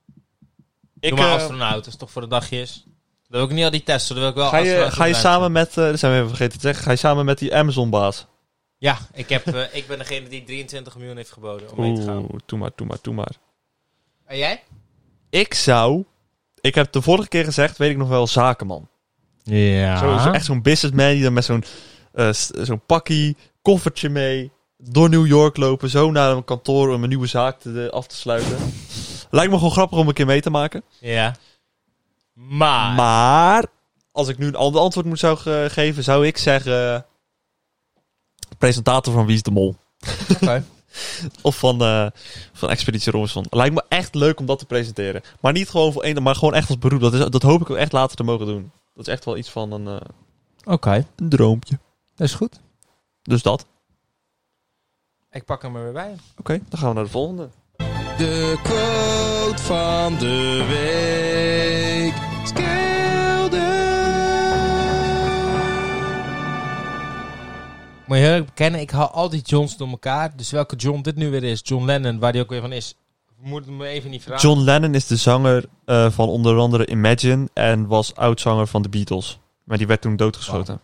Speaker 3: Doe
Speaker 2: Ik,
Speaker 3: maar
Speaker 2: eh,
Speaker 3: astronaut. Dat is toch voor de dagjes. Dan wil ik niet al die testen. Dan wil ik wel
Speaker 2: ga je,
Speaker 3: astronaut
Speaker 2: ga je
Speaker 3: blijven.
Speaker 2: samen met, eh dat zijn we even vergeten te zeggen, ga je samen met die Amazon-baas?
Speaker 3: Ja, ik, heb, eh, ik ben degene die 23 miljoen heeft geboden om mee te gaan.
Speaker 2: doe maar, doe maar, doe maar.
Speaker 3: En jij?
Speaker 2: Ik zou, ik heb de vorige keer gezegd, weet ik nog wel, zakenman.
Speaker 3: Ja.
Speaker 2: Zo, zo- echt zo'n businessman die dan met zo'n eh, s- zo'n pakkie, koffertje mee, door New York lopen, zo naar een kantoor om een nieuwe zaak te, eh, af te sluiten. Lijkt me gewoon grappig om een keer mee te maken.
Speaker 3: Ja. Maar.
Speaker 2: Maar als ik nu een ander antwoord moet zou ge- geven, zou ik zeggen eh, presentator van Wie is de Mol.
Speaker 3: Oké.
Speaker 2: [laughs] of van, eh, van Expeditie Robinson. Lijkt me echt leuk om dat te presenteren. Maar niet gewoon voor één, maar gewoon echt als beroep. Dat, is, dat hoop ik ook echt later te mogen doen. Dat is echt wel iets van een, eh,
Speaker 3: Oké,
Speaker 2: een droompje.
Speaker 3: dat is goed.
Speaker 2: Dus dat.
Speaker 3: Ik pak hem er weer bij.
Speaker 2: Oké, dan gaan we naar de volgende.
Speaker 6: De quote van de week.
Speaker 3: Moet je heel erg bekennen, ik haal al die Johns door elkaar. Dus welke John dit nu weer is, John Lennon, waar die ook weer van is, moet me even niet vragen.
Speaker 2: John Lennon is de zanger eh, van onder andere Imagine en was oudzanger van de Beatles. Maar die werd toen doodgeschoten.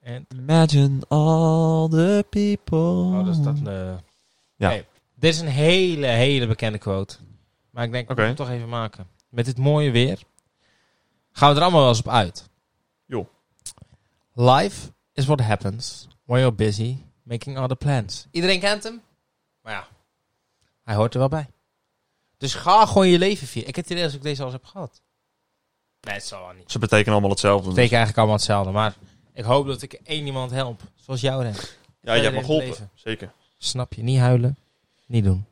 Speaker 3: En,
Speaker 2: Imagine all the people.
Speaker 3: oh, dat is dat. eh. Nee, dit is een hele, hele bekende quote. Maar ik denk, ik
Speaker 2: Oké.
Speaker 3: moet hem toch even maken. Met dit mooie weer gaan we er allemaal wel eens op uit.
Speaker 2: Joh.
Speaker 3: Life is what happens when you're busy making other plans. Iedereen kent hem, maar ja, hij hoort er wel bij. Dus ga gewoon je leven vieren. Ik heb het idee dat ik deze al eens heb gehad. Nee, het zal wel niet.
Speaker 2: Ze betekenen allemaal hetzelfde.
Speaker 3: Ik
Speaker 2: dus-
Speaker 3: teken eigenlijk allemaal hetzelfde, maar ik hoop dat ik één iemand help, zoals jou, Ren.
Speaker 2: Ja, je hebt me
Speaker 3: Iedereen
Speaker 2: geholpen.
Speaker 3: leven.
Speaker 2: Zeker.
Speaker 3: Snap je? Niet huilen, niet doen.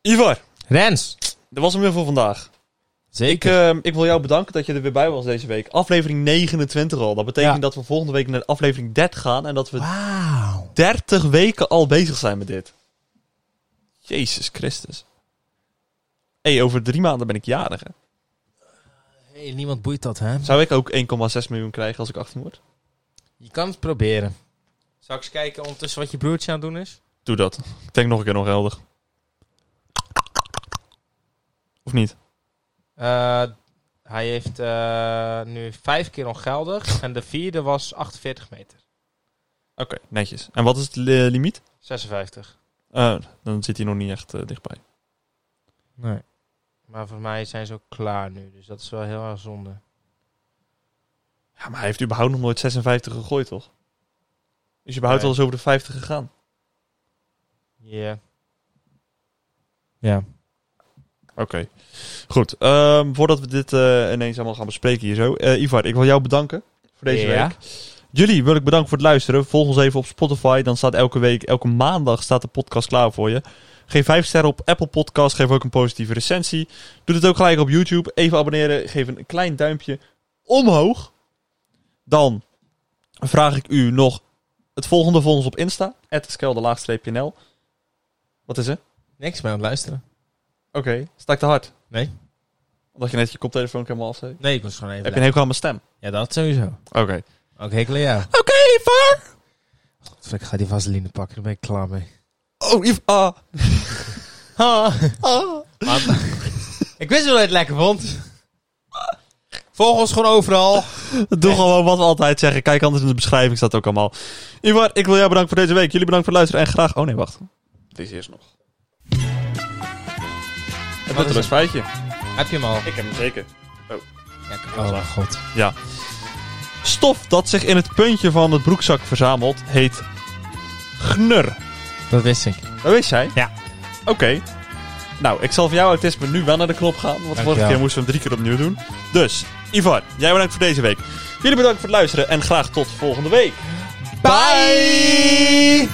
Speaker 2: Ivar,
Speaker 3: Rens!
Speaker 2: dat was hem weer voor vandaag. Ik,
Speaker 3: Zeker.
Speaker 2: eh, ik wil jou bedanken dat je er weer bij was deze week. Aflevering 29 al. Dat betekent
Speaker 3: Ja.
Speaker 2: dat we volgende week naar aflevering 30 gaan en dat we
Speaker 3: Wauw.
Speaker 2: 30 weken al bezig zijn met dit. Jezus Christus. Hé, hey, over drie maanden ben ik jarig, hè?
Speaker 3: Hey, niemand boeit dat, hè?
Speaker 2: Zou ik ook 1,6 miljoen krijgen als ik 18 word?
Speaker 3: Je kan het proberen. Zou ik eens kijken ondertussen wat je broertje aan het doen is?
Speaker 2: Doe dat. Ik denk nog een keer ongeldig. Of niet?
Speaker 3: Eh, hij heeft eh, nu vijf keer [laughs] ongeldig. en de vierde was 48 meter.
Speaker 2: Oké, netjes. En wat is het li- limiet?
Speaker 3: 56.
Speaker 2: Eh, dan zit hij nog niet echt eh, dichtbij.
Speaker 3: Nee. Maar voor mij zijn ze ook klaar nu. Dus dat is wel heel erg zonde.
Speaker 2: Ja, maar hij heeft überhaupt nog nooit 56 gegooid, toch? Is überhaupt
Speaker 3: Nee.
Speaker 2: al eens over de 50 gegaan?
Speaker 3: Ja. Ja.
Speaker 2: Oké. Goed. Ehm, voordat we dit eh, ineens allemaal gaan bespreken hier zo. eh, Ivar, ik wil jou bedanken voor deze
Speaker 3: Ja.
Speaker 2: week. Jullie wil ik bedanken voor het luisteren. Volg ons even op Spotify. Dan staat elke week, elke maandag staat de podcast klaar voor je. Geef 5 sterren op Apple Podcast. Geef ook een positieve recensie. Doe het ook gelijk op YouTube. Even abonneren. Geef een klein duimpje omhoog. Dan vraag ik u nog het volgende voor ons op Insta. @skelde_nl. Wat is er?
Speaker 3: Niks meer aan het luisteren.
Speaker 2: Oké, sta ik te hard?
Speaker 3: Nee.
Speaker 2: Omdat je net je koptelefoon ook helemaal afzet.
Speaker 3: Nee, ik was gewoon even.
Speaker 2: Heb je een hekel aan mijn stem?
Speaker 3: Ja, dat sowieso.
Speaker 2: Oké.
Speaker 3: Ook hekelen, ja.
Speaker 2: Oké, Ivar!
Speaker 3: Ik ga die vaseline pakken, daar ben ik klaar mee.
Speaker 2: Oh, Ivar.
Speaker 3: [laughs] ik wist wel dat je het lekker vond. Volg ons gewoon overal.
Speaker 2: Doe gewoon wat we altijd zeggen. Kijk anders in de beschrijving staat ook allemaal. Ivar, ik wil jou bedanken voor deze week. Jullie bedankt voor het luisteren en graag... Oh nee, wacht. Dit is eerst nog. Het
Speaker 3: Wat
Speaker 2: wordt
Speaker 3: is
Speaker 2: een spijtje.
Speaker 3: Heb je hem al?
Speaker 2: Ik heb hem zeker.
Speaker 3: oh mijn god.
Speaker 2: Ja. Stof dat zich in het puntje van het broekzak verzamelt, heet gnur.
Speaker 3: Dat wist ik.
Speaker 2: Dat wist jij?
Speaker 3: Ja.
Speaker 2: Oh, Oké. Nou, ik zal van jouw autisme nu wel naar de knop gaan. Want vorige
Speaker 3: Dankjewel.
Speaker 2: keer moesten we hem drie keer opnieuw doen. Dus, Ivar, jij bedankt voor deze week. Jullie bedankt voor het luisteren en graag tot volgende week. Bye!